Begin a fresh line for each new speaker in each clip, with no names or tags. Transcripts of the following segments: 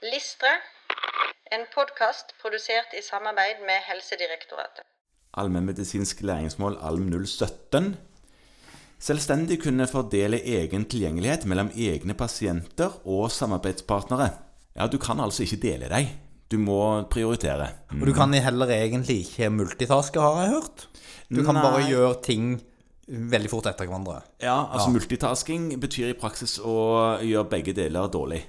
Listre, en podkast produsert i samarbeid med Helsedirektoratet.
Allmennmedisinsk læringsmål ALM 017. Selvstendig kunne fordele egen tilgjengelighet mellom egne pasienter og samarbeidspartnere. Ja, du kan altså ikke dele deg. Du må prioritere.
Og du kan heller egentlig ikke multitaske, har jeg hørt. Du kan bare
Nei.
gjøre ting veldig fort etter hverandre.
Ja, altså multitasking betyr i praksis å gjøre begge deler dårlig.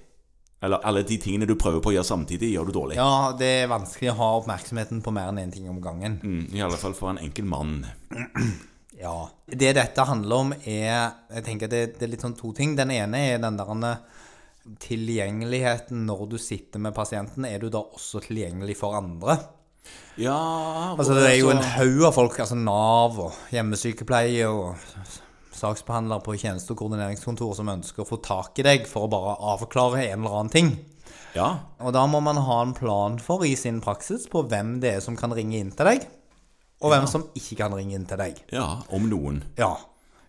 Eller alle de tingene du prøver på å gjøre samtidig, gjør du dårlig.
Ja, det er vanskelig å ha oppmerksomheten på mer enn én ting om gangen.
Mm, I alle fall for en enkel mann.
Ja. Det dette handler om, er Jeg tenker det, det er litt sånn to ting. Den ene er den der tilgjengeligheten når du sitter med pasienten. Er du da også tilgjengelig for andre?
Ja
Altså, det er jo en haug av folk. Altså Nav og hjemmesykepleie og saksbehandlere på tjeneste- og koordineringskontor som ønsker å få tak i deg for å bare avklare en eller annen ting.
Ja.
Og da må man ha en plan for i sin praksis på hvem det er som kan ringe inn til deg, og hvem som ikke kan ringe inn til deg.
ja, om noen.
Ja.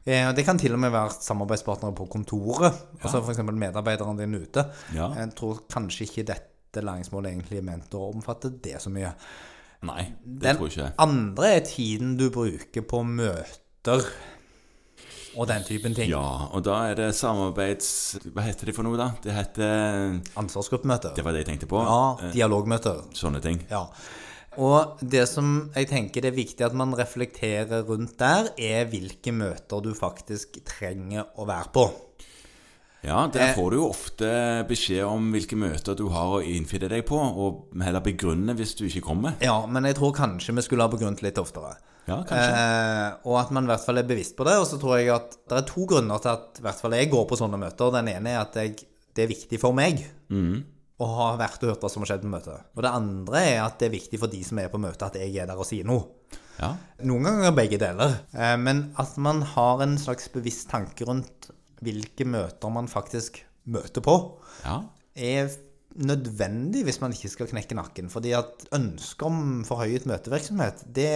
Eh, og Det kan til og med være samarbeidspartnere på kontoret, altså f.eks. medarbeideren din ute.
Ja.
Jeg tror kanskje ikke dette læringsmålet egentlig er ment å omfatte det så mye.
Nei, det
Den
tror jeg ikke.
andre er tiden du bruker på møter og den typen ting.
Ja, og da er det samarbeids... Hva heter det for noe, da? Det heter
Ansvarsgruppemøter.
Det var det jeg tenkte på.
Ja,
Eh,
dialogmøter.
Sånne ting.
Ja. Og det som jeg tenker det er viktig at man reflekterer rundt der, er hvilke møter du faktisk trenger å være på.
Ja,
Eh.
der får du jo ofte beskjed om hvilke møter du har å innfinne deg på, og heller begrunne hvis du ikke kommer.
Ja, men jeg tror kanskje vi skulle ha begrunnet litt oftere.
Ja, kanskje.
Eh, og at man i hvert fall er bevisst på det. Og så tror jeg at det er to grunner til at i hvert fall jeg går på sånne møter. Den ene er at jeg, det er viktig for meg å ha vært og hørt hva som har skjedd på møtet. Og det andre er at det er viktig for de som er på møtet, at jeg er der og sier noe.
Ja.
Noen ganger begge deler. Eh, Men at man har en slags bevisst tanke rundt hvilke møter man faktisk møter på,
ja.
er nødvendig hvis man ikke skal knekke nakken. Fordi at ønsket om forhøyet møtevirksomhet, det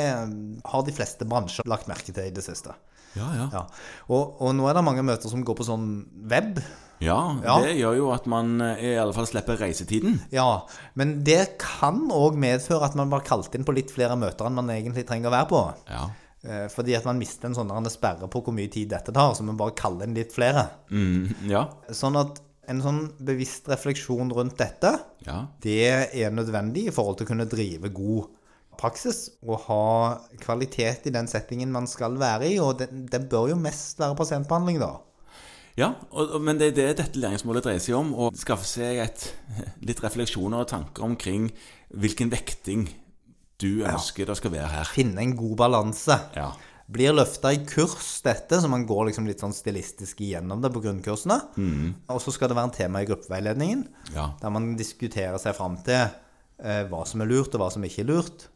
har de fleste bransjer lagt merke til i det siste.
Ja, ja.
Ja. Og, og nå er det mange møter som går på sånn web.
Ja,
Ja.
det gjør jo at man eh, i alle fall slipper reisetiden.
Ja, men det kan òg medføre at man blir kalt inn på litt flere møter enn man egentlig trenger å være på.
Ja.
Eh, Fordi at man mister en sånn der en sperre på hvor mye tid dette tar, så man bare kaller inn litt flere.
Mm, ja.
Sånn at en sånn bevisst refleksjon rundt dette,
Ja.
det er nødvendig i forhold til å kunne drive god praksis og ha kvalitet i den settingen man skal være i, og det, det bør jo mest være pasientbehandling, da.
Ja, og, og, men det er det dette læringsmålet dreier seg om. Å skaffe seg et, litt refleksjoner og tanker omkring hvilken vekting du ønsker det skal være her.
Finne en god balanse.
Ja.
Blir løfta i kurs, dette, så man går liksom litt sånn stilistisk igjennom det på grunnkursene.
Mm.
Og så skal det være en tema i gruppeveiledningen,
ja.
der man diskuterer seg fram til eh, hva som er lurt, og hva som ikke er lurt.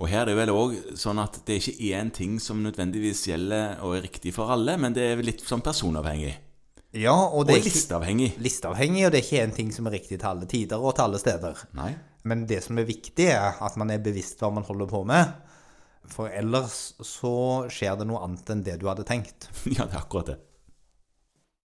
Og her er det vel òg sånn at det er ikke én ting som nødvendigvis gjelder og er riktig for alle, men det er vel litt sånn personavhengig.
Ja, og
Og
det er ikke
listeavhengig.
listeavhengig, og det er ikke en ting som er riktig til alle tider og til alle steder.
Nei.
Men det som er viktig, er at man er bevisst hva man holder på med. For ellers så skjer det noe annet enn det du hadde tenkt.
Ja, det er akkurat det.